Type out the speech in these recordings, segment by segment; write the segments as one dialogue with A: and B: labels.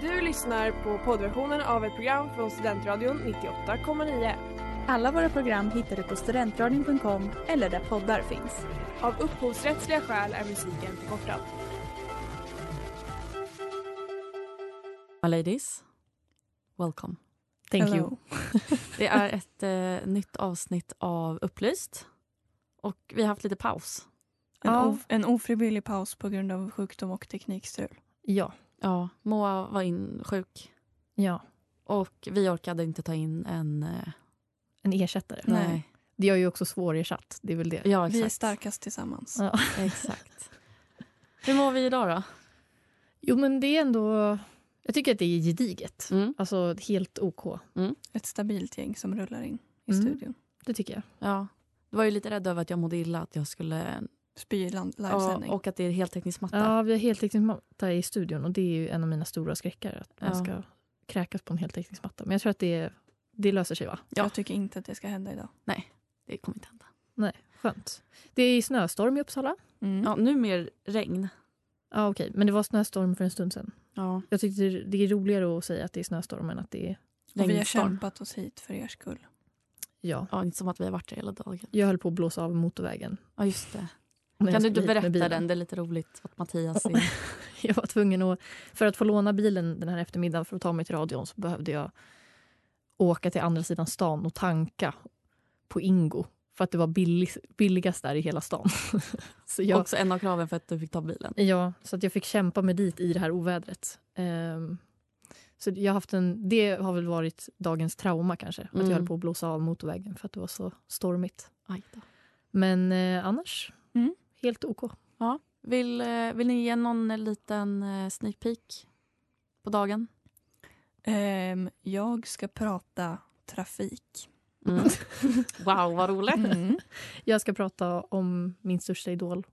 A: Du lyssnar på poddversionen av ett program från Studentradion 98,9.
B: Alla våra program hittar du på studentradion.com eller där poddar finns.
A: Av upphovsrättsliga skäl är musiken förkortad.
C: My ladies, welcome.
B: Thank
C: you. Det är ett eh, nytt avsnitt av Upplyst. Och vi har haft lite paus.
D: En,
C: Ja.
D: of, en ofrivillig paus på grund av sjukdom och teknikstrul.
E: Ja,
C: Ja, Moa var in sjuk
E: ja.
C: och vi orkade inte ta in en... Eh,
E: En ersättare. Det är ju också svårersatt. Det är väl det.
C: Ja, exakt.
D: Vi är starkast tillsammans.
E: Ja.
C: Exakt. Hur mår vi idag då?
E: Jo, men det är ändå... Jag tycker att det är gediget.
C: Mm.
E: Alltså helt OK.
D: Ett stabilt gäng som rullar in i
E: Mm.
D: studion.
E: Det tycker jag.
C: Ja, du var ju lite rädd över att jag mådde illa, att jag skulle...
D: Spy i land-
C: Ja,
D: livesändning.
C: och att det är heltäckningsmatta.
E: Ja, vi har heltäckningsmatta i studion och det är ju en av mina stora skräckar. Att man
C: Ja.
E: ska kräkas på en heltäckningsmatta. Men jag tror att det, det löser sig, va?
C: ja.
D: Jag tycker inte att det ska hända idag.
C: Det kommer inte hända.
E: Skönt. Det är snöstorm i Uppsala.
D: Mm.
C: Ja, nu mer regn.
E: Ja, okej. Men det var snöstorm för en stund sedan.
C: Ja,
E: Jag tyckte det- det är roligare att säga att det är snöstorm än att det är...
D: och vi har
C: regnstorm.
D: kämpat oss hit för er skull.
E: Ja.
C: Ja, inte som att vi har varit där hela dagen.
E: Jag höll på att blåsa av motorvägen.
C: Ja, just det. Kan
E: när jag
C: du
E: skulle
C: inte
E: hit med
C: berätta
E: bilen.
C: den? Det är lite roligt att Mattias
E: Ja.
C: är...
E: Jag var tvungen att, för att få låna bilen den här eftermiddagen för att ta mig till radion så behövde jag åka till andra sidan stan och tanka på Ingo. För att det var billig, billigast där i hela stan. så jag,
C: Också en av kraven för att du fick ta bilen.
E: ja, så att jag fick kämpa mig dit i det här ovädret. Ehm, så jag har haft en, det har väl varit dagens trauma kanske. Att
C: Mm.
E: jag höll på att blåsa av motorvägen för att det var så stormigt.
C: Aj då.
E: Men eh, annars,
D: Mm.
E: helt OK.
C: Vill, eh, vill ni ge någon eh, liten eh, sneak peek på dagen?
D: Ehm, jag ska prata trafik.
C: Mm. wow, vad roligt.
D: Mm.
E: Jag ska prata om min största idol.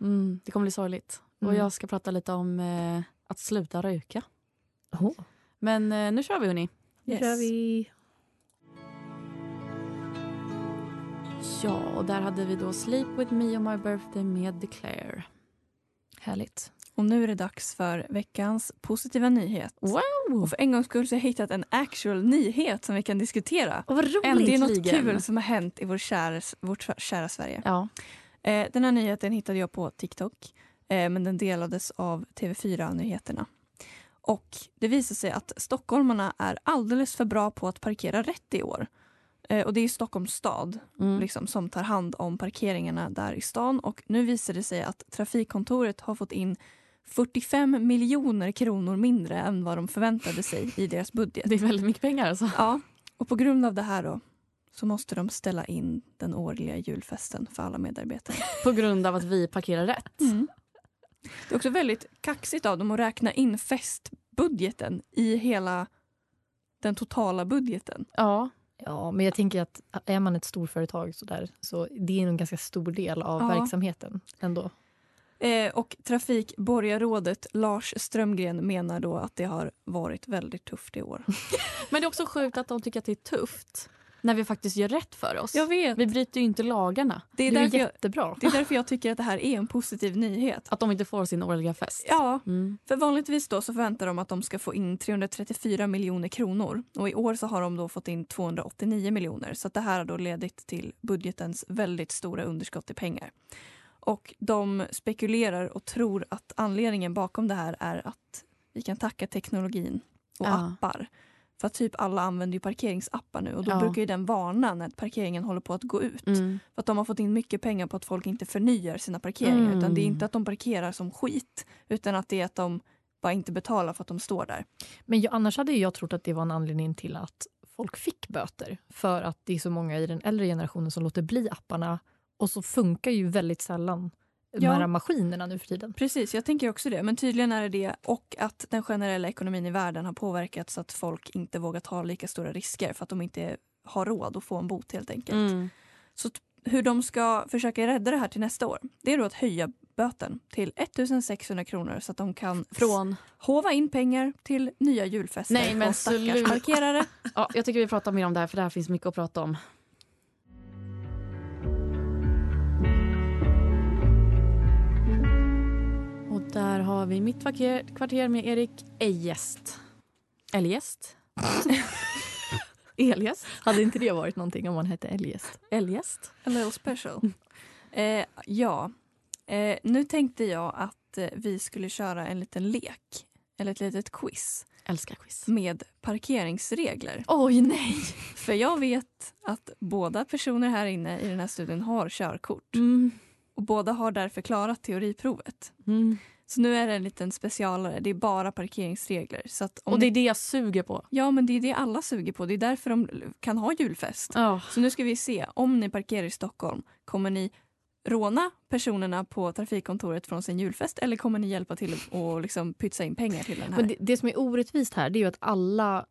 C: Mm, det kommer bli sorgligt. Och
E: Mm.
C: jag ska prata lite om eh, att sluta röka.
E: Oh.
C: Men eh, nu kör vi, hörni.
E: Nu
D: Yes.
E: kör vi.
C: Ja, och där hade vi då Sleep with me on my birthday med Declare.
E: Härligt.
D: Och nu är det dags för veckans positiva nyhet.
C: Wow!
D: Och för en gångs skull så har jag hittat en actual nyhet som vi kan diskutera.
E: Och vad
D: Det är något
C: Äntligen.
D: kul som har hänt i vår kära, vårt kära Sverige.
C: Ja.
D: Eh, den här nyheten hittade jag på TikTok, eh, men den delades av TV4-nyheterna. Och det visar sig att stockholmarna är alldeles för bra på att parkera rätt i år. Eh, och det är Stockholms stad
C: Mm.
D: liksom, som tar hand om parkeringarna där i stan och nu visar det sig att Trafikkontoret har fått in 45 miljoner kronor mindre än vad de förväntade sig i deras budget.
C: Det är väldigt mycket pengar alltså.
D: Ja, och på grund av det här då så måste de ställa in den årliga julfesten för alla medarbetare.
C: På grund av att vi parkerar rätt.
D: Mm. Det är också väldigt kaxigt av dem att räkna in festbudgeten i hela den totala budgeten.
C: Ja.
E: Ja, men jag tänker att är man ett storföretag så där, så det är nog en ganska stor del av
D: Ja.
E: verksamheten ändå.
D: Eh, och trafikborgarrådet Lars Strömgren menar då att det har varit väldigt tufft i år.
C: Men det är också sjukt att de tycker att det är tufft när vi faktiskt gör rätt för oss.
D: Jag vet.
C: Vi bryter ju inte lagarna.
D: Det är,
E: Det är
D: därför jag,
E: jättebra.
D: det är därför jag tycker att det här är en positiv nyhet.
C: Att de inte får sin årliga fest.
D: Ja,
C: Mm.
D: För vanligtvis då så förväntar de att de ska få in 334 miljoner kronor och i år så har de då fått in 289 miljoner så att det här har då ledit till budgetens väldigt stora underskott i pengar. Och de spekulerar och tror att anledningen bakom det här är att vi kan tacka teknologin och
C: Ja.
D: appar. För att typ alla använder ju parkeringsappar nu och då
C: Ja.
D: brukar ju den varna när parkeringen håller på att gå ut.
C: Mm.
D: För att de har fått in mycket pengar på att folk inte förnyar sina parkeringar.
C: Mm.
D: Utan det är inte att de parkerar som skit. Utan att det är att de bara inte betalar för att de står där.
E: Men jag, annars hade ju jag trott att det var en anledning till att folk fick böter. För att det är så många i den äldre generationen som låter bli apparna och så funkar ju väldigt sällan de
D: Ja.
E: här maskinerna nu för tiden.
D: Precis, jag tänker också det. Men tydligen är det det. Och att den generella ekonomin i världen har påverkat så att folk inte vågar ta lika stora risker. För att de inte har råd att få en bot helt enkelt.
C: Mm.
D: Så t- hur de ska försöka rädda det här till nästa år. Det är då att höja böten till 1600 kronor så att de kan
C: Från...
D: hova in pengar till nya julfester
C: Nej, men
D: och stackars
C: slut.
D: parkerare.
C: Ja, jag tycker vi pratar mer om det här för det här finns mycket att prata om. Och där har vi Mitt kvarter, kvarter med Erik Ejest. Eljest. Eljest.
E: Hade inte det varit någonting om man hette Eljest?
C: Eljest.
D: A little special. Eh, ja, eh, nu tänkte jag att eh, vi skulle köra en liten lek, eller ett litet quiz,
C: Älskar quiz.
D: med parkeringsregler.
C: Oj, nej!
D: För jag vet att båda personer här inne i den här studion har körkort.
C: Mm.
D: Och båda har därför klarat teoriprovet.
C: Mm.
D: Så nu är det en liten specialare, det är bara parkeringsregler. Så att om
C: Och det är
D: ni-
C: det jag suger på.
D: Ja, men det är det alla suger på. Det är därför de kan ha julfest.
C: Ja.
D: Så nu ska vi se, om ni parkerar i Stockholm, kommer ni råna personerna på trafikkontoret från sin julfest eller kommer ni hjälpa till och liksom pytsa in pengar till den här?
E: Men det, det som är orättvist här det är ju att alla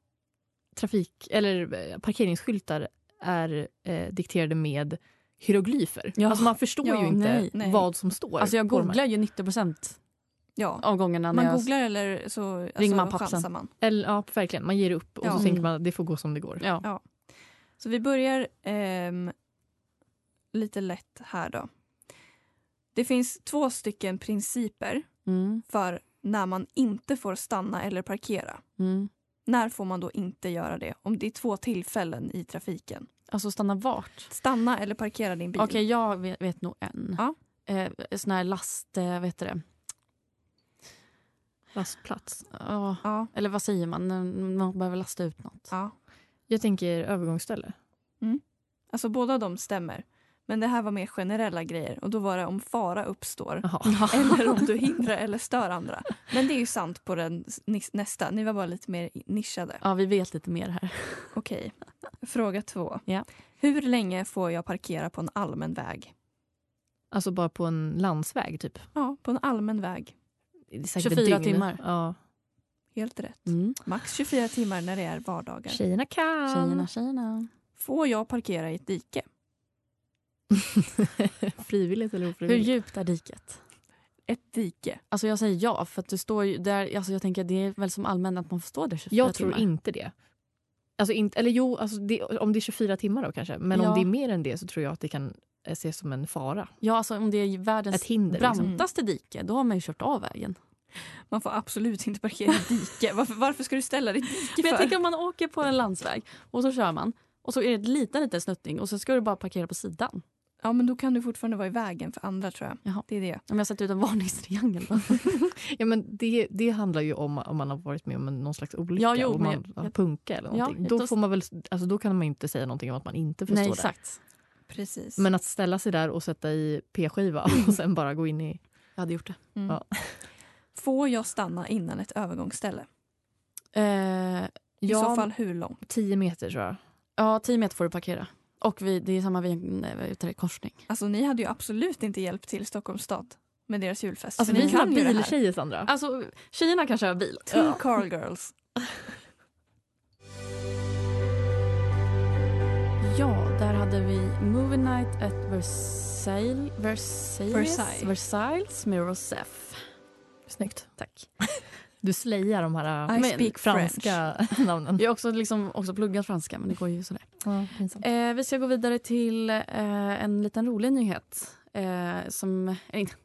E: trafik, eller eh, parkeringsskyltar är eh, dikterade med hieroglyfer.
C: Ja.
E: Alltså man förstår
D: Ja,
E: ju inte
C: nej,
D: nej.
E: vad som står.
C: Alltså jag
E: på de här.
C: googlar ju 90
D: ja.
C: av gångerna. när
D: Man
C: jag...
D: googlar eller så alltså,
C: Ringer man pappsen?
D: chansar man.
E: Eller, ja, verkligen. Man ger upp och
D: Ja.
E: så tänker man att det får gå som det går.
C: Mm. Ja.
D: Så vi börjar ehm, lite lätt här då. Det finns två stycken principer
C: Mm.
D: för när man inte får stanna eller parkera.
C: Mm.
D: När får man då inte göra det? Om det är två tillfällen i trafiken.
C: Alltså stanna vart?
D: Stanna eller parkera din bil.
C: Okej, jag vet, vet nog en.
D: Ja.
C: Eh, sån här last... Eh, vad heter det?
E: Lastplats.
C: Ja,
D: Ja,
C: eller vad säger man? När man behöver lasta ut något.
D: ja.
E: Jag tänker övergångsställe.
D: Alltså båda de stämmer. Men det här var mer generella grejer och då var det om fara uppstår
C: Mm.
E: Jaha.
D: eller om du hindrar eller stör andra. Men det är ju sant på den s- nis- nästa. Ni var bara lite mer nischade.
C: Ja, vi vet lite mer här.
D: Okej. Fråga två.
C: Ja.
D: Hur länge får jag parkera på en allmän väg?
E: Alltså bara på en landsväg typ.
D: Ja, på en allmän väg.
E: Det är säkert ett
C: 24
E: dygn.
C: timmar.
E: Ja.
D: Helt rätt.
C: Mm.
D: Max 24 timmar när det är vardagar.
E: Tjejerna kan.
C: Tjejerna, tjejerna.
D: Får jag parkera i ett dike?
E: Frivilligt eller
C: Hur
E: ofrivilligt?
C: djupt är diket?
D: Ett dike.
C: Alltså jag säger ja, för att du står ju där. Alltså jag tänker, det är väl som allmänt att man får stå där 24
E: Jag tror
C: timmar.
E: inte det. Alltså inte, eller jo, alltså det, om det är 24 timmar då kanske. Men
C: Ja.
E: om det är mer än det så tror jag att det kan eh, ses som en fara.
C: Ja, alltså om det är världens
E: Ett hinder. Liksom.
C: brantaste dike, då har man ju kört av vägen.
D: Man får absolut inte parkera i ett dike. Varför, varför ska du ställa dig i ett dike
C: Men jag
D: för?
C: tänker om man åker på en landsväg och så kör man och så är det en liten, liten snuttning och så ska du bara parkera på sidan.
D: Ja, men då kan du fortfarande vara i vägen för andra tror jag.
C: Jaha.
D: Det är det.
C: Om jag sätter ut en varningstriangel. då.
E: Ja, men det, det handlar ju om om man har varit med om en- någon slags olycka.
C: Ja, jo,
E: om
C: men
E: man
C: jag-
E: har punka eller
C: Ja,
E: någonting. då,
C: då-
E: får man väl, alltså, då kan man ju inte säga någonting om att man inte får
C: Nej,
E: stå där.
C: exakt.
D: Precis.
E: Men att ställa sig där och sätta i p-skiva och sen bara gå in i...
C: Jag hade gjort det.
D: Får jag stanna innan ett övergångsställe?
C: Eh,
D: I
E: Ja,
D: så fall hur långt?
E: 10 meter tror jag.
C: ja, 10 meter får du parkera. Och vi, det är samma vid en nej, vad heter det, korsning.
D: Alltså ni hade ju absolut inte hjälpt till Stockholms stad med deras julfest.
E: Alltså,
D: Så ni
E: vi är
D: kan ju det här.
E: biltjejer, Sandra.
C: Alltså, tjejerna kan köra bil.
D: Two car girls.
C: Ja, där hade vi Movie Night at Versailles. Versailles?
D: Versailles.
C: Versailles med Rosef.
E: Snyggt.
C: Tack.
E: Du slayar de här
D: I
E: äh,
C: men
D: speak French.
E: franska namnen.
C: Jag har också, liksom, också pluggat franska, men det går ju sådär. Eh, vi ska gå vidare till eh, en liten rolig nyhet. Eh, som, eh, inte-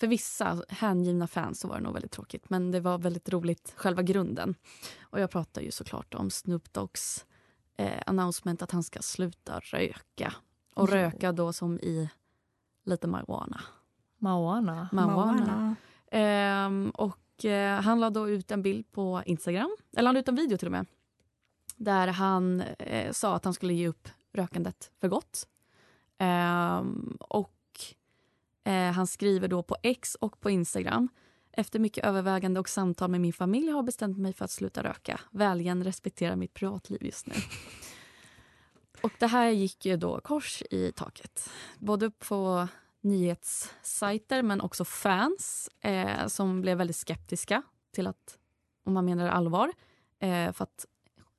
C: för vissa hängivna fans så var det nog väldigt tråkigt men det var väldigt roligt, själva grunden. Och jag pratar ju såklart om Snoop Doggs eh, announcement att han ska sluta röka. Och
E: Jo.
C: röka då som i lite marijuana.
E: Moana.
C: marijuana. Ehm, och eh, han la då ut en bild på Instagram, eller han la ut en video till och med, där han eh, sa att han skulle ge upp rökandet för gott. Ehm, och eh, han skriver då på X och på Instagram. Efter mycket övervägande och samtal med min familj har jag bestämt mig för att sluta röka. Väljen respekterar mitt privatliv just nu. Och det här gick ju då kors i taket. Både på nyhetssajter men också fans eh, som blev väldigt skeptiska till att om man menar allvar. Eh, för att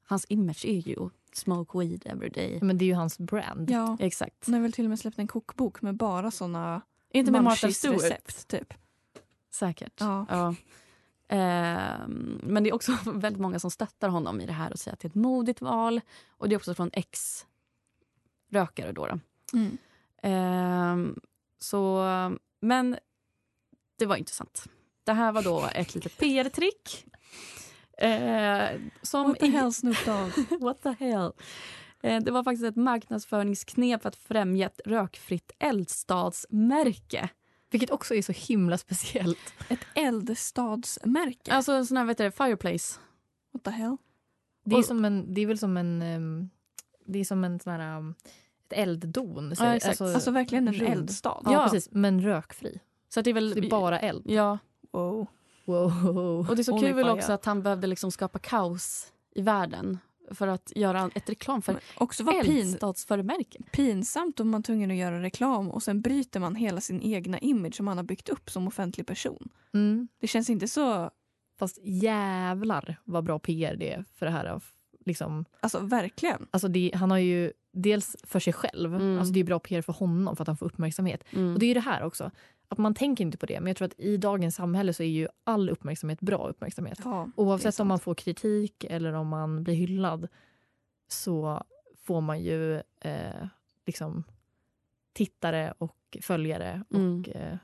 C: hans image är ju smoke weed every day.
E: Ja, Men det är ju hans brand.
D: Ja.
C: Exakt.
D: Han har väl till och med släppt en kokbok med bara såna
C: Inte med Martha Stewart.
D: recept typ.
C: Säkert.
D: Ja.
C: Ehm, men det är också väldigt många som stöttar honom i det här och säger att det är ett modigt val. Och det är också från ex-rökare då. då.
D: Mm.
C: Ehm, så, men det var intressant. Det här var då ett litet PR-trick Eh, som
D: What the
C: i-
D: hell Snoop Dogg?
C: What the hell? Eh, Det var faktiskt ett marknadsföringsknep för att främja ett rökfritt eldstadsmärke.
E: Vilket också är så himla speciellt.
D: Ett eldstadsmärke?
C: Alltså en sån här, vad heter det, fireplace.
D: What the hell?
E: Det är,
C: Och-
E: som en, det är väl som en... ehm, Det är som en sån här... ehm, Ett elddon. säger-
C: exakt.
D: Alltså verkligen en
E: rund.
D: eldstad?
E: Ja,
C: Ja.
E: precis. Men rökfri.
C: Så att det är
E: Så
C: väl...
E: det är bara eld.
C: Ja,
D: Wow.
E: Wow.
C: och det är så
D: Only
C: kul
D: fire.
C: också att han behövde liksom skapa kaos i världen för att göra ett reklam för
D: Men också vad pin,
C: eldstadsförmärken.
D: pinsamt om man är tvungen att göra reklam och sen bryter man hela sin egna image som man har byggt upp som offentlig person.
E: Mm.
D: Det känns inte så,
E: Fast jävlar vad bra PR det är för det här. Liksom,
D: alltså verkligen.
E: alltså det, han har ju dels för sig själv,
C: Mm.
E: alltså det är bra PR för honom för att han får uppmärksamhet.
C: Mm.
E: Och det är ju det här också, att man tänker inte på det. Men jag tror att i dagens samhälle så är ju all uppmärksamhet bra uppmärksamhet.
D: Ja,
E: Oavsett om
D: sant.
E: man får kritik eller om man blir hyllad så får man ju eh, liksom tittare och följare. Och,
C: Mm.
E: eh,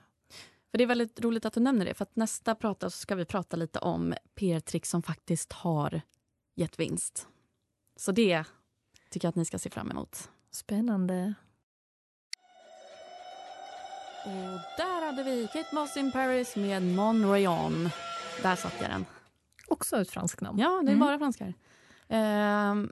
C: För Det är väldigt roligt att du nämner det. För att Nästa prata så ska vi prata lite om PR-trick som faktiskt har gett vinst. Så det tycker jag att ni ska se fram emot.
E: spännande.
C: Och där hade vi Kate Moss in Paris med Mon Rayon. Där satte jag den.
E: Också ett franskt namn.
C: Ja, det är
D: Mm.
C: bara franskar. Ehm,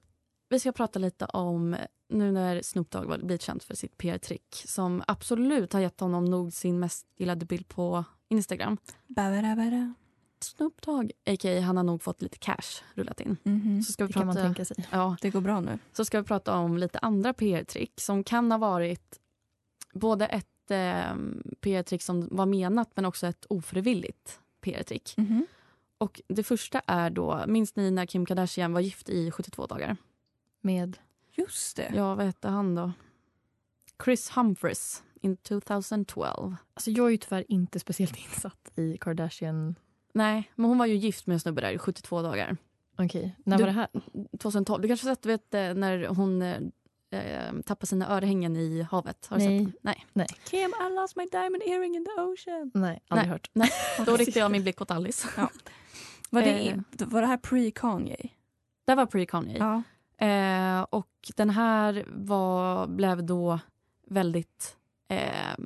C: vi ska prata lite om nu när Snoop Dogg var- blivit känd för sitt PR-trick som absolut har gett honom nog sin mest gillade bild på Instagram.
D: Ba-ba-da-ba-da.
C: Snoop Dogg, a.k.a. han har nog fått lite cash rullat in.
D: Mhm.
C: Mm, Så ska vi
E: Det kan man
C: prata,
E: tänka sig.
C: ja,
D: Det går bra nu.
C: så ska vi prata om lite andra PR-trick som kan ha varit både ett eh, PR-trick som var menat men också ett ofrivilligt PR-trick.
D: Mhm.
C: Och det första är då, minns ni när Kim Kardashian var gift i 72 dagar?
E: Med
D: Just det.
C: Ja, vad hette han då? Chris Humphries in 2012.
E: Alltså jag är ju tyvärr inte speciellt insatt i Kardashian.
C: Nej, men hon var ju gift med en snubbe där i 72 dagar.
E: Okej, när
C: Du-
E: var det här?
C: 2012. Du kanske har sett vet, eh, när hon eh, eh, tappade sina örhängen i havet? Har du
E: Nej.
C: sett? den? Nej.
D: Kim, I lost my diamond earring in the ocean.
E: Nej, aldrig hört.
C: Då riktade jag min blick åt Alice.
D: Var
C: Eh.
D: det, var det här pre-Kanye?
C: Det var pre-Kanye.
D: Ja.
C: Eh, och den här var, blev då väldigt... Eh,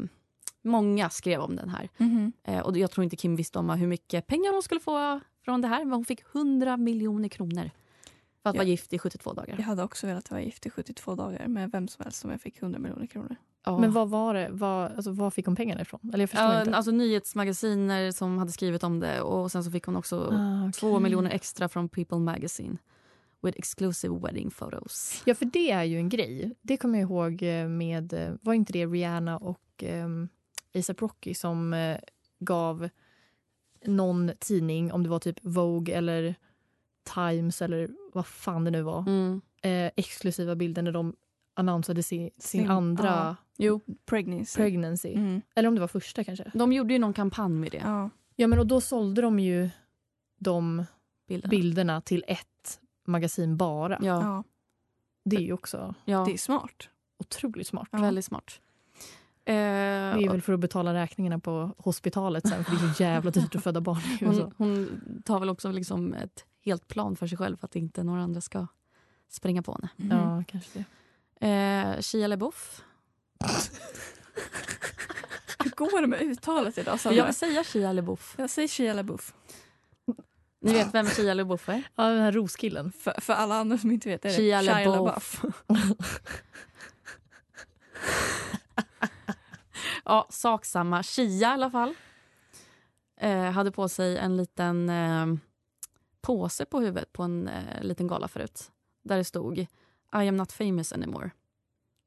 C: många skrev om den här.
D: Mhm.
C: Eh, och jag tror inte Kim visste om hur mycket pengar hon skulle få från det här. Men hon fick 100 miljoner kronor för att
D: Ja.
C: vara gift i 72 dagar.
D: Jag hade också velat vara gift i 72 dagar med vem som helst om jag fick 100 miljoner kronor.
C: Ja.
E: Men vad var det? Vad, alltså, vad fick hon pengarna ifrån? Eller jag förstår
C: Ja,
E: inte.
C: alltså nyhetsmagasiner som hade skrivit om det och sen så fick hon också
E: Ah, okej.
C: två miljoner extra från People Magazine with exclusive wedding photos.
E: Ja, för det är ju en grej. Det kommer jag ihåg eh, med, eh, var inte det Rihanna och um, ASAP Rocky som eh, gav någon tidning, om det var typ Vogue eller Times eller vad fan det nu var,
C: Mm.
E: eh, exklusiva bilder när de annonsade sin, sin
D: Sin-
E: andra
D: ja.
C: Jo,
D: Pregnancy.
E: pregnancy.
D: Mm.
E: Eller om det var första kanske.
C: de gjorde ju någon kampanj med det.
D: Ja.
E: Ja, men och då sålde de ju de
C: Bilderna.
E: bilderna till ett magasin bara.
C: Ja, ja,
D: Ja.
E: Det är ju också
D: det är smart.
E: otroligt smart.
D: Ja.
C: väldigt smart. Eh,
E: Det är väl för att betala räkningarna på hospitalet sen, för det är så jävla dyrt att föda barn
D: Mm.
E: i USA.
C: hon, hon tar väl också liksom ett helt plan för sig själv för att inte några andra ska springa på henne.
D: Mm.
E: Ja, kanske det.
C: Eh, Shia LaBeouf.
D: Hur går det med uttalet idag Sandra?
C: Jag vill säga Shia LaBeouf.
D: jag säger Shia LaBeouf.
C: Ni vet vem Shia LaBeouf är?
E: Ja, den här roskillen.
D: För, för alla andra som inte vet är det
C: Shia LaBeouf. Ja, sak samma. Shia i alla fall. Eh, hade på sig en liten eh, påse på huvudet på en eh, liten gala förut. Där det stod I am not famous anymore.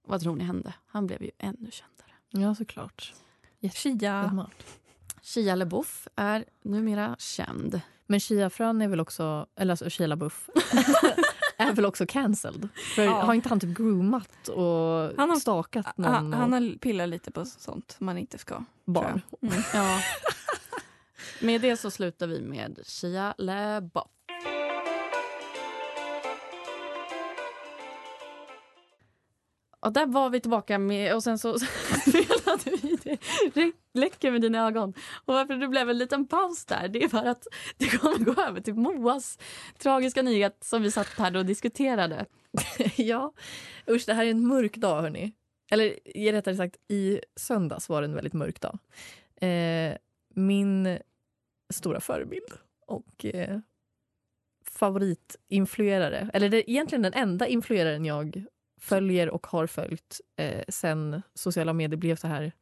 C: Vad tror ni hände? Han blev ju ännu kändare.
E: Ja, såklart.
D: Shia.
E: Smart.
C: Shia LaBeouf är numera känd.
E: Men chiafrön är väl också, eller alltså Shia LaBeouf, är väl också cancelled? För
D: Ja.
E: har inte han typ groomat och
D: Han har-
E: stakat någon
D: Han, han
E: och
D: har pillat lite på sånt man inte ska.
E: barn?
C: Mm, Ja. med det så slutar vi med Shia LaBeouf. Ja, där var vi tillbaka med, och sen så spelade vi det. Rä- Läcker med dina ögon. Och varför det blev en liten paus där, det är för att det kommer gå över till Moas tragiska nyhet som vi satt här och diskuterade.
E: ja, usch det här är en mörk dag hörni. Eller eh, rättare sagt i söndags var det en väldigt mörk dag. Eh, min stora förebild och eh, favoritinfluerare, eller det är egentligen den enda influeraren jag följer och har följt eh, sen sociala medier blev så här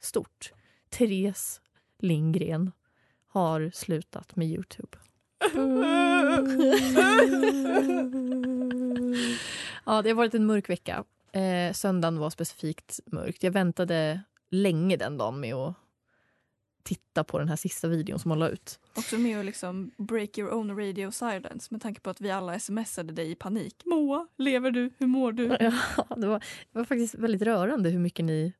E: stort. Therese Lindgren har slutat med Youtube. Ja, det har varit en mörk vecka. Eh, söndagen var specifikt mörkt. Jag väntade länge den dagen med att titta på den här sista videon som hon la ut.
D: Också med att liksom break your own radio silence med tanke på att vi alla smsade dig i panik. Moa, lever du? Hur mår du?
E: Ja, det, var, det var faktiskt väldigt rörande hur mycket ni...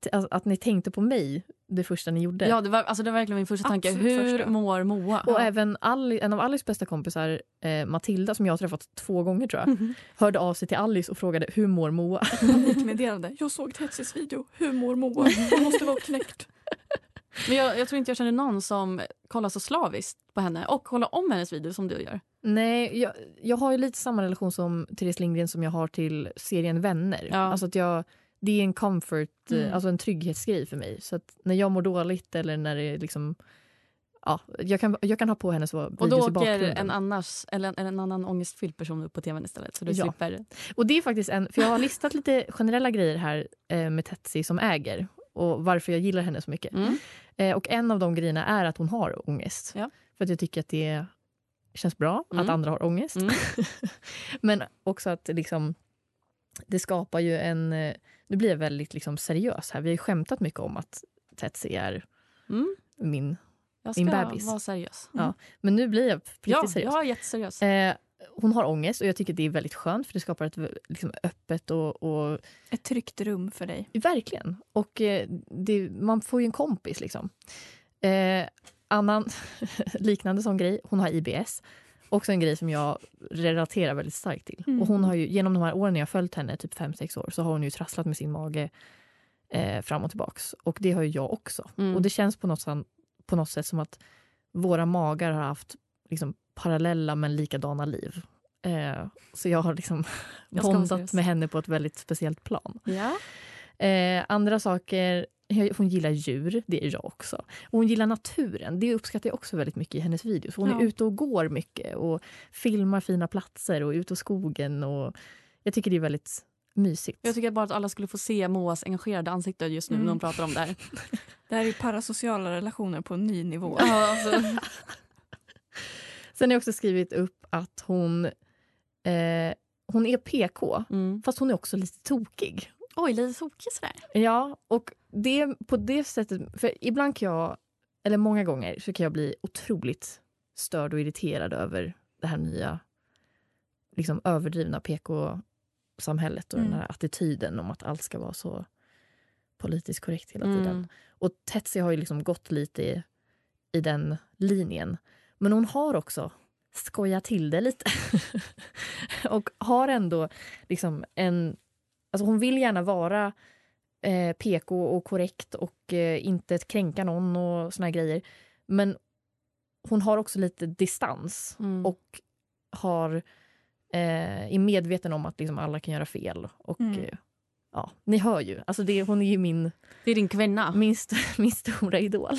E: t- alltså, Att ni tänkte på mig det första ni gjorde.
C: Ja, det var, alltså, det var verkligen min första tanke.
D: Absolut
C: Hur
D: första.
C: mår Moa?
E: Och även Ali, en av Alice bästa kompisar, eh, Matilda, som jag har träffat två gånger tror jag, hörde av sig till Alice och frågade hur mår Moa?
D: Panikmeddelande. Jag såg Tetsis video. Hur mår Moa? Hon måste vara knäckt.
C: Men jag, jag tror inte jag känner någon som kollar så slaviskt på henne och kollar om hennes video som du gör.
E: Nej, jag, jag har ju lite samma relation som Therese Lindgren som jag har till serien Vänner.
C: Ja.
E: Alltså att jag, det är en comfort, eh,
C: Mm.
E: alltså en trygghetsgrej för mig. Så att när jag mår dåligt eller när det är liksom... Ja, jag, kan, jag kan ha på hennes videos
C: Och då
E: i
C: åker
E: bakgrunden.
C: en, annars, eller en, en annan ångestfylld person upp på tvn istället. Så du
E: Ja.
C: slipper.
E: Och det är faktiskt en, för jag har listat lite generella grejer här eh, med Tetsi som äger och varför jag gillar henne så mycket.
C: Mm.
E: Eh, och en av de grejerna är att hon har ångest.
C: Ja.
E: För att jag tycker att det känns bra
C: Mm.
E: att andra har ångest.
C: Mm.
E: Men också att liksom, det skapar ju en... eh, Nu blir jag väldigt liksom seriös här. Vi har ju skämtat mycket om att Tetsi är
C: Mm.
E: min...
C: Jag ska
E: Min bebis.
C: vara seriös.
E: Ja, Men nu blir jag riktigt
C: Ja,
E: seriös.
C: jag är jätteseriös.
E: Eh, hon har ångest och jag tycker det är väldigt skönt för det skapar ett vä- liksom, öppet och, och
D: Ett tryggt rum för dig.
E: Verkligen. Och eh, det, man får ju en kompis liksom. Eh, annan liknande sån grej, hon har IBS. Också en grej som jag relaterar väldigt starkt till. Och
C: Mm.
E: hon har ju, genom de här åren när jag har följt henne, typ 5-6 år, så har hon ju trasslat med sin mage eh, fram och tillbaks. Och det har ju jag också.
C: Mm.
E: Och det känns på något, san- på något sätt som att våra magar har haft liksom, parallella men likadana liv. Eh, så jag har liksom
C: Jag ska vara
E: bondat
C: seriös.
E: med henne på ett väldigt speciellt plan.
C: Ja.
E: Eh, andra saker, hon gillar djur, det är jag också. Och hon gillar naturen, det uppskattar jag också väldigt mycket i hennes videos. Hon är
D: Ja.
E: ute och går mycket och filmar fina platser och är ute i skogen. Och jag tycker det är väldigt mysigt.
C: Jag tycker bara att alla skulle få se Moas engagerade ansikte just nu
D: Mm.
C: när hon pratar om det här.
D: Det här är parasociala relationer på en ny nivå.
C: Ja, alltså.
E: Sen har jag också skrivit upp att hon, eh, hon är PK,
C: mm.
E: fast hon är också lite tokig.
C: Oj, lite tokig sådär.
E: Ja, och det på det sättet... För ibland kan jag, eller många gånger, så kan jag bli otroligt störd och irriterad över det här nya liksom överdrivna PK-samhället och den
D: Mm.
E: här attityden om att allt ska vara så politiskt korrekt hela
C: Mm.
E: tiden. Och Tetsi har ju liksom gått lite i, i den linjen. Men hon har också skojat till det lite. och har ändå liksom en... Alltså hon vill gärna vara eh, PK och korrekt och eh, inte kränka någon och såna här grejer. Men hon har också lite distans
C: Mm.
E: och har, eh, är medveten om att liksom alla kan göra fel. Och,
D: Mm.
E: eh, ja, ni hör ju. Alltså det, hon är ju min
C: Det är din kvinna.
E: min, st- min stora idol.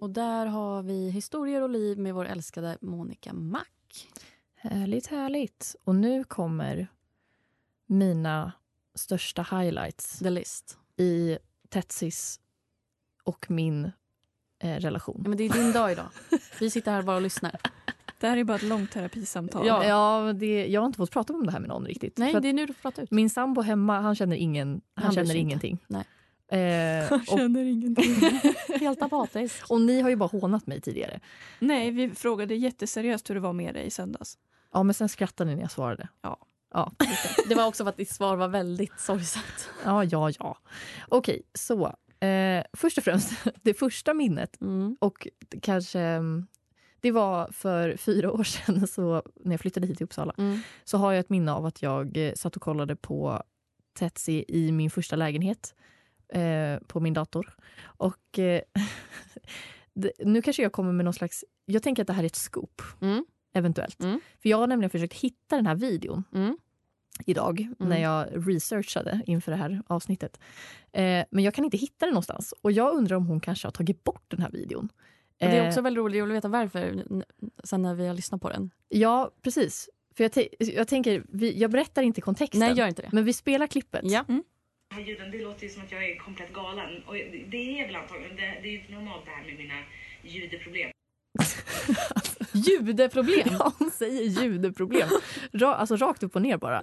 C: Och där har vi historier och liv med vår älskade Monica Mac.
E: Härligt, härligt. Och nu kommer mina största highlights
C: The List.
E: i Tetsis och min eh, relation.
C: Ja, men det är din dag idag. Vi sitter här bara och lyssnar.
D: Det här är bara ett långt terapisamtal.
C: Ja.
E: Ja, det, jag har inte fått prata om det här med någon riktigt.
C: Nej,
E: för att
C: det är nu du får prata ut.
E: Min sambo hemma, han känner, ingen, han
C: Han bryr
E: känner
C: sig inte.
E: ingenting.
C: Nej.
E: Eh,
D: Jag
E: och,
D: känner ingenting.
C: Helt apatisk.
E: och ni har ju bara hånat mig tidigare.
D: Nej, vi frågade jätteseriöst hur det var med dig i söndags.
E: Ja, men sen skrattade ni när jag svarade.
C: Det var också för att ditt svar var väldigt sorgset.
E: Ja, ja, ja. Okej, så. Eh, först och främst, det första minnet
C: Mm.
E: Och kanske mm, Det var för fyra år sedan, så, när jag flyttade hit till Uppsala,
C: Mm.
E: så har jag ett minne av att jag eh, satt och kollade på Tetsi i min första lägenhet eh, på min dator. Och eh, det, nu kanske jag kommer med någon slags... Jag tänker att det här är ett scoop,
C: Mm.
E: eventuellt.
C: Mm.
E: För jag har nämligen försökt hitta den här videon
C: Mm.
E: idag när jag researchade inför det här avsnittet. Eh, men jag kan inte hitta den någonstans. Och jag undrar om hon kanske har tagit bort den här videon.
C: Och det är
E: Eh,
C: också väldigt roligt, jag vill veta varför n- sen när vi har lyssnat på den.
E: Ja, precis. För jag, te- jag tänker, vi, jag berättar inte kontexten.
C: Nej, gör inte det.
E: Men vi spelar klippet.
C: Ja.
F: De här ljuden, det låter ju som att jag är komplett galen. Och det är jag väl antagligen. Det, det är ju inte normalt det här med mina ljudproblem.
C: Judeproblem!
E: Ja, hon säger judeproblem. Ra, alltså rakt upp och ner bara.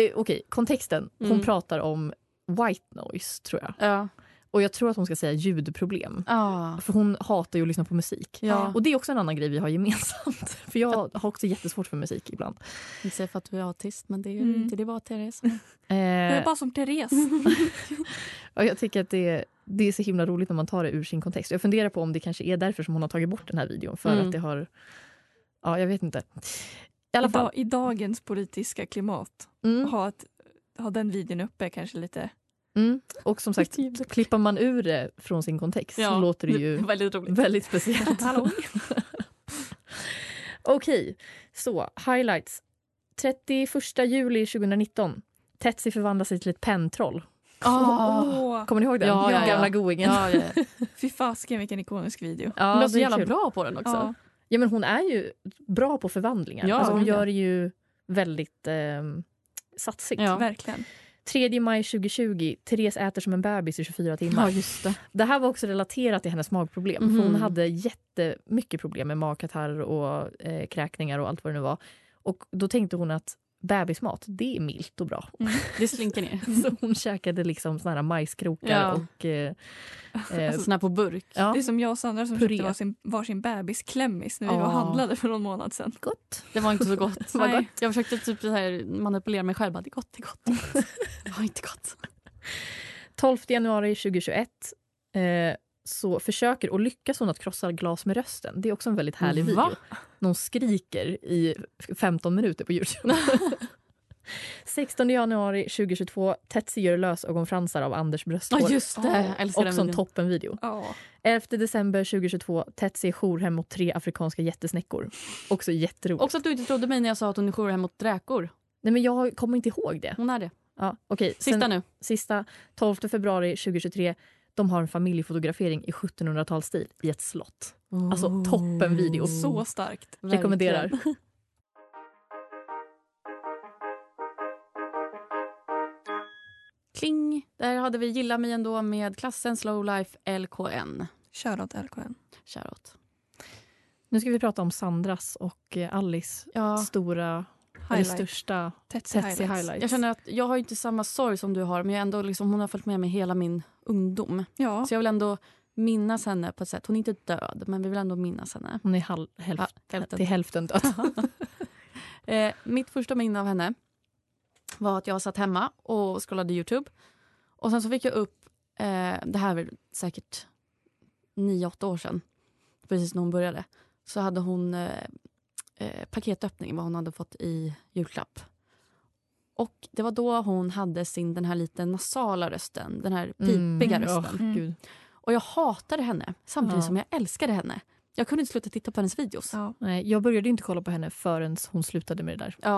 E: Eh, Okej, kontexten. Hon
C: Mm.
E: pratar om white noise, tror jag.
C: Ja.
E: Och jag tror att hon ska säga ljudproblem.
C: Ah.
E: För hon hatar ju att lyssna på musik.
C: Ja.
E: Och det är också en annan grej vi har gemensamt. För jag har också jättesvårt för musik ibland.
C: Inte säga för att du är autist, men det är ju
D: Mm.
C: inte det var Therese.
D: Jag
E: Eh,
D: är bara som Therese.
E: och jag tycker att det, det är så himla roligt när man tar det ur sin kontext. Jag funderar på om det kanske är därför som hon har tagit bort den här videon. För
C: Mm.
E: att det har... Ja, jag vet inte. I alla fall.
D: Idag, I dagens politiska klimat,
E: Mm.
D: ha, ett, ha den videon uppe är kanske lite...
E: Mm. Och som sagt,
C: Jättejobbigt.
E: klippar man ur det från sin kontext så låter det ju
C: väldigt roligt.
E: väldigt speciellt. Okej, så highlights. 31 juli 2019. Tetsi förvandlar sig till ett penntroll.
C: Ah.
D: Åh,
E: Kommer ni ihåg den?
C: Ja, ja, ja.
E: Gamla goingen.
C: Ja, ja. ja.
D: fy fasken vilken ikonisk video.
E: Ja,
C: Hon blev så
E: det är
C: jävla
E: kul.
C: bra på den också.
D: Ja.
E: Ja, men hon är ju bra på förvandlingar.
C: Ja,
E: alltså, hon
C: verkligen.
E: gör det ju väldigt ehm, satsigt.
C: Ja.
D: Verkligen.
E: 3 maj 2020. Therese äter som en bebis i 24 timmar.
C: Ja, just det.
E: Det här var också relaterat till hennes magproblem.
C: Mhm.
E: För hon hade jättemycket problem med magkatarr och eh, kräkningar och allt vad det nu var. Och då tänkte hon att bebismat, det är milt och bra.
C: Det slinker ner.
E: Så hon käkade liksom såna här majskrokar
C: Mhm. Ja.
E: och... Eh, eh,
C: Alltså, Sån här på burk.
E: ja.
D: Det är som jag och Sandra som
E: Puré.
D: köpte varsin, varsin bebisklämmis när vi var
C: Ja.
D: och handlade för någon månad sedan.
E: Gott.
C: Det var inte så gott.
E: Vad
C: Nej. Jag försökte typ så här manipulera mig själv. Bara, Det är gott, det är gott. Det var inte gott.
E: 12 januari 2021 eh, så försöker och lyckas hon att krossa glas med rösten. Det är också en väldigt härlig
C: Va?
E: video. Någon skriker i 15 minuter på Youtube. 16 januari 2022. Tetsi gör lösögonfransar av Anders brösthår.
C: Ja, just det. Jag älskar den
E: Också en
C: videon.
E: toppenvideo.
D: Ja.
E: 11 december 2022. Tetsi är jourhem mot tre afrikanska jättesnäckor. Också jätteroligt.
C: Också att du inte trodde mig när jag sa att hon är jourhem mot dräkor.
E: Nej, men jag kommer inte ihåg det.
C: Hon är det.
E: Ja, okej.
C: Sista
E: Sen-
C: nu.
E: Sista 12 februari 2023. De har en familjefotografering i 1700-talsstil i ett slott. Alltså toppenvideo.
D: Så starkt.
C: Verkligen.
E: Rekommenderar.
C: Kling! Där hade vi Gilla mig ändå med klassen Slowlife LKN.
D: Shoutout LKN.
C: Shoutout.
E: Nu ska vi prata om Sandras och eh, Alice
C: Ja,
E: stora, eller
D: Highlight.
E: största
D: Tetsi
E: Tetsi
D: highlights.
E: highlights.
C: jag känner att jag har ju inte samma sorg som du har men jag är ändå liksom, hon har följt med mig hela min ungdom.
D: Ja.
C: Så jag vill ändå minnas henne på ett sätt. Hon är inte död men vi vill ändå minnas henne.
E: Hon är halv, hälf,
C: Ja, hälften.
E: till hälften död.
C: Eh, mitt första minne av henne var att jag satt hemma och scrollade Youtube. Och sen så fick jag upp, eh, det här var säkert 9-8 år sedan, precis när hon började. Så hade hon eh, eh, paketöppning, vad hon hade fått i julklapp. Och det var då hon hade sin, den här lite nasala rösten, den här pipiga
E: Mm,
C: typ. rösten.
E: åh, gud.
C: Och jag hatade henne, samtidigt
E: Ja.
C: som jag älskade henne. Jag kunde inte sluta titta på hennes videos. Ja.
D: Ja.
E: Nej, jag började ju inte kolla på henne förrän hon slutade med det där.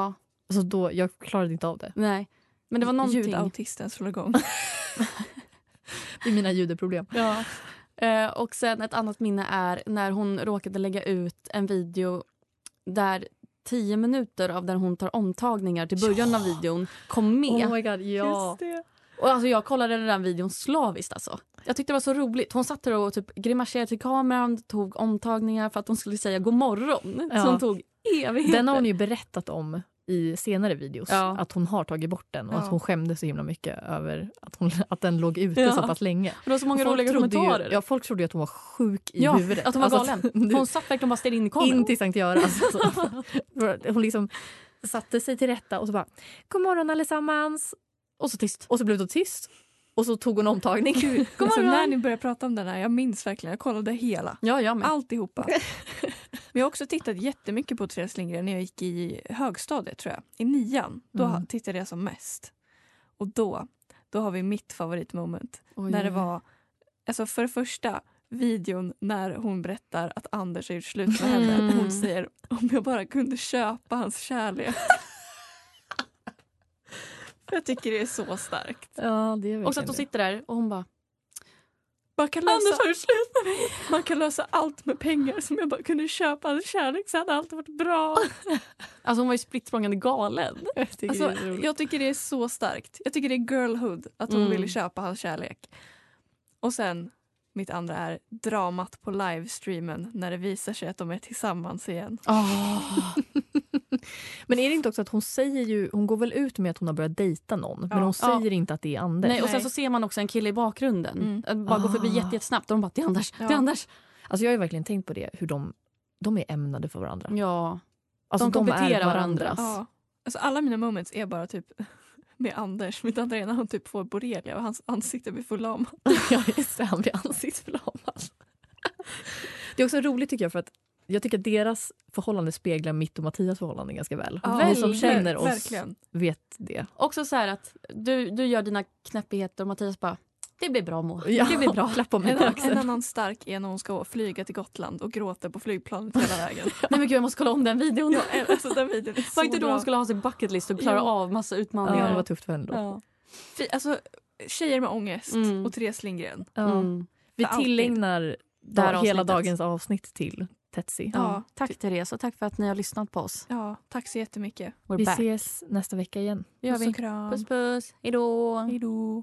E: Alltså då, jag klarade inte av det.
C: nej. Men det var någonting.
D: Ljudautisten slår igång.
E: Det är mina judeproblem.
C: Ja. Eh, och sen ett annat minne är när hon råkade lägga ut en video där tio minuter av där hon tar omtagningar till början av videon kom med.
E: Oh my god, ja.
C: Och alltså jag kollade den där videon slaviskt. Alltså. Jag tyckte det var så roligt. Hon satt där och typ grimaserade till kameran, tog omtagningar för att hon skulle säga god morgon.
E: Ja.
C: Så hon tog evigheter.
E: Den har hon ju berättat om i senare videos,
C: Ja.
E: att hon har tagit bort den och
D: Ja.
E: att hon skämdes så himla mycket över att, hon, att den låg ute
C: Ja.
E: så pass länge.
C: Och det var så många roliga
E: trodde ju,
C: kommentarer.
E: ja, folk trodde ju att hon var sjuk i
C: Ja,
E: huvudet.
C: att hon var
E: Alltså,
C: galen.
E: du-
C: Hon satt verkligen bara stirrade in i kameran.
E: in till Sankt Göran. Alltså, så- hon liksom satte sig till rätta och så bara “God morgon allesammans”
C: Och så tyst.
E: och så blev det tyst och så tog hon omtagning.
D: alltså, när ni började prata om den här, jag minns verkligen, jag kollade hela.
C: Ja, jag med.
D: Alltihopa. Men jag har också tittat jättemycket på Therese Lindgren när jag gick i högstadiet tror jag. I nian, då
E: Mm.
D: ha- tittade jag som mest. Och då, då har vi mitt favoritmoment.
C: Oj,
D: När det
C: oj,
D: var, alltså för det första, videon när hon berättar att Anders har gjort slut med henne.
C: Mm.
D: Hon säger om jag bara kunde köpa hans kärlek. jag tycker det är så starkt.
E: Ja, det är
C: Och så att
E: verkligen
C: hon
E: det.
C: sitter där och hon bara
D: Man kan, lösa,
C: Anders har du slut med mig?
D: Alltså, man kan lösa allt med pengar. Som jag bara kunde köpa hans kärlek så hade allt varit bra.
C: Alltså hon var ju spritt språngande galen.
E: Jag tycker det är
D: Alltså,
E: roligt.
D: jag tycker det är så starkt. Jag tycker det är girlhood att hon
C: Mm.
D: ville köpa hans kärlek. Och sen mitt andra är dramat på livestreamen när det visar sig att de är tillsammans igen.
E: Men är det inte också att hon säger ju, hon går väl ut med att hon har börjat dejta någon, men
D: Ja.
E: hon säger inte att det är Anders.
C: Nej, och sen
D: Nej.
C: så ser man också en kille i bakgrunden.
D: Mm.
C: Att Bara gå förbi
E: Ah.
C: jätte- jättesnabbt och de bara “det är Anders, det är
D: Ja.
C: Anders”.
E: Alltså jag har ju verkligen tänkt på det, hur de, de är ämnade för varandra.
C: Ja.
E: Alltså
C: de kompletterar varandras.
D: Ja. Alltså alla mina moments är bara typ med Anders. Mitt andra är när han typ får borrelia och hans ansikte blir förlamat.
E: Ja, just det. Han blir ansiktsförlamad. Det är också roligt tycker jag för att jag tycker att deras förhållande speglar mitt och Mattias förhållande ganska väl.
D: Ja,
E: Vi som
C: väldigt,
E: känner oss
D: Verkligen.
E: vet det.
C: Också så här att du, du gör dina knäppigheter och Mattias bara “det blir bra Moa,
E: Ja.
C: det blir bra”.
E: Klapp på mig
D: En,
E: på
D: en
E: axeln.
D: annan stark är när hon ska flyga till Gotland och gråter på flygplanet hela vägen.
C: Nej men gud jag måste kolla om den videon.
D: Ja, alltså, den videon är så
C: var inte då
D: bra.
C: hon skulle ha sin bucket list och klara
D: Jo.
C: av massa
E: Ja,
C: utmaningar.
E: det var tufft för henne då.
C: Ja.
D: Fy, alltså, tjejer med ångest
C: Mm.
D: och Therese Lindgren.
E: Ja.
C: Mm.
E: Vi
D: För alltid.
E: tillägnar
C: Det här
E: dag, hela
C: avsnittet.
E: dagens avsnitt till Tetsi.
D: Ja.
C: Ja. Tack Therese och tack för att ni har lyssnat på oss.
D: Ja, tack så jättemycket.
C: We're
E: Vi
C: back.
E: ses nästa vecka igen.
C: Det gör vi.
D: kram.
C: Puss puss, hejdå.
D: Hej då.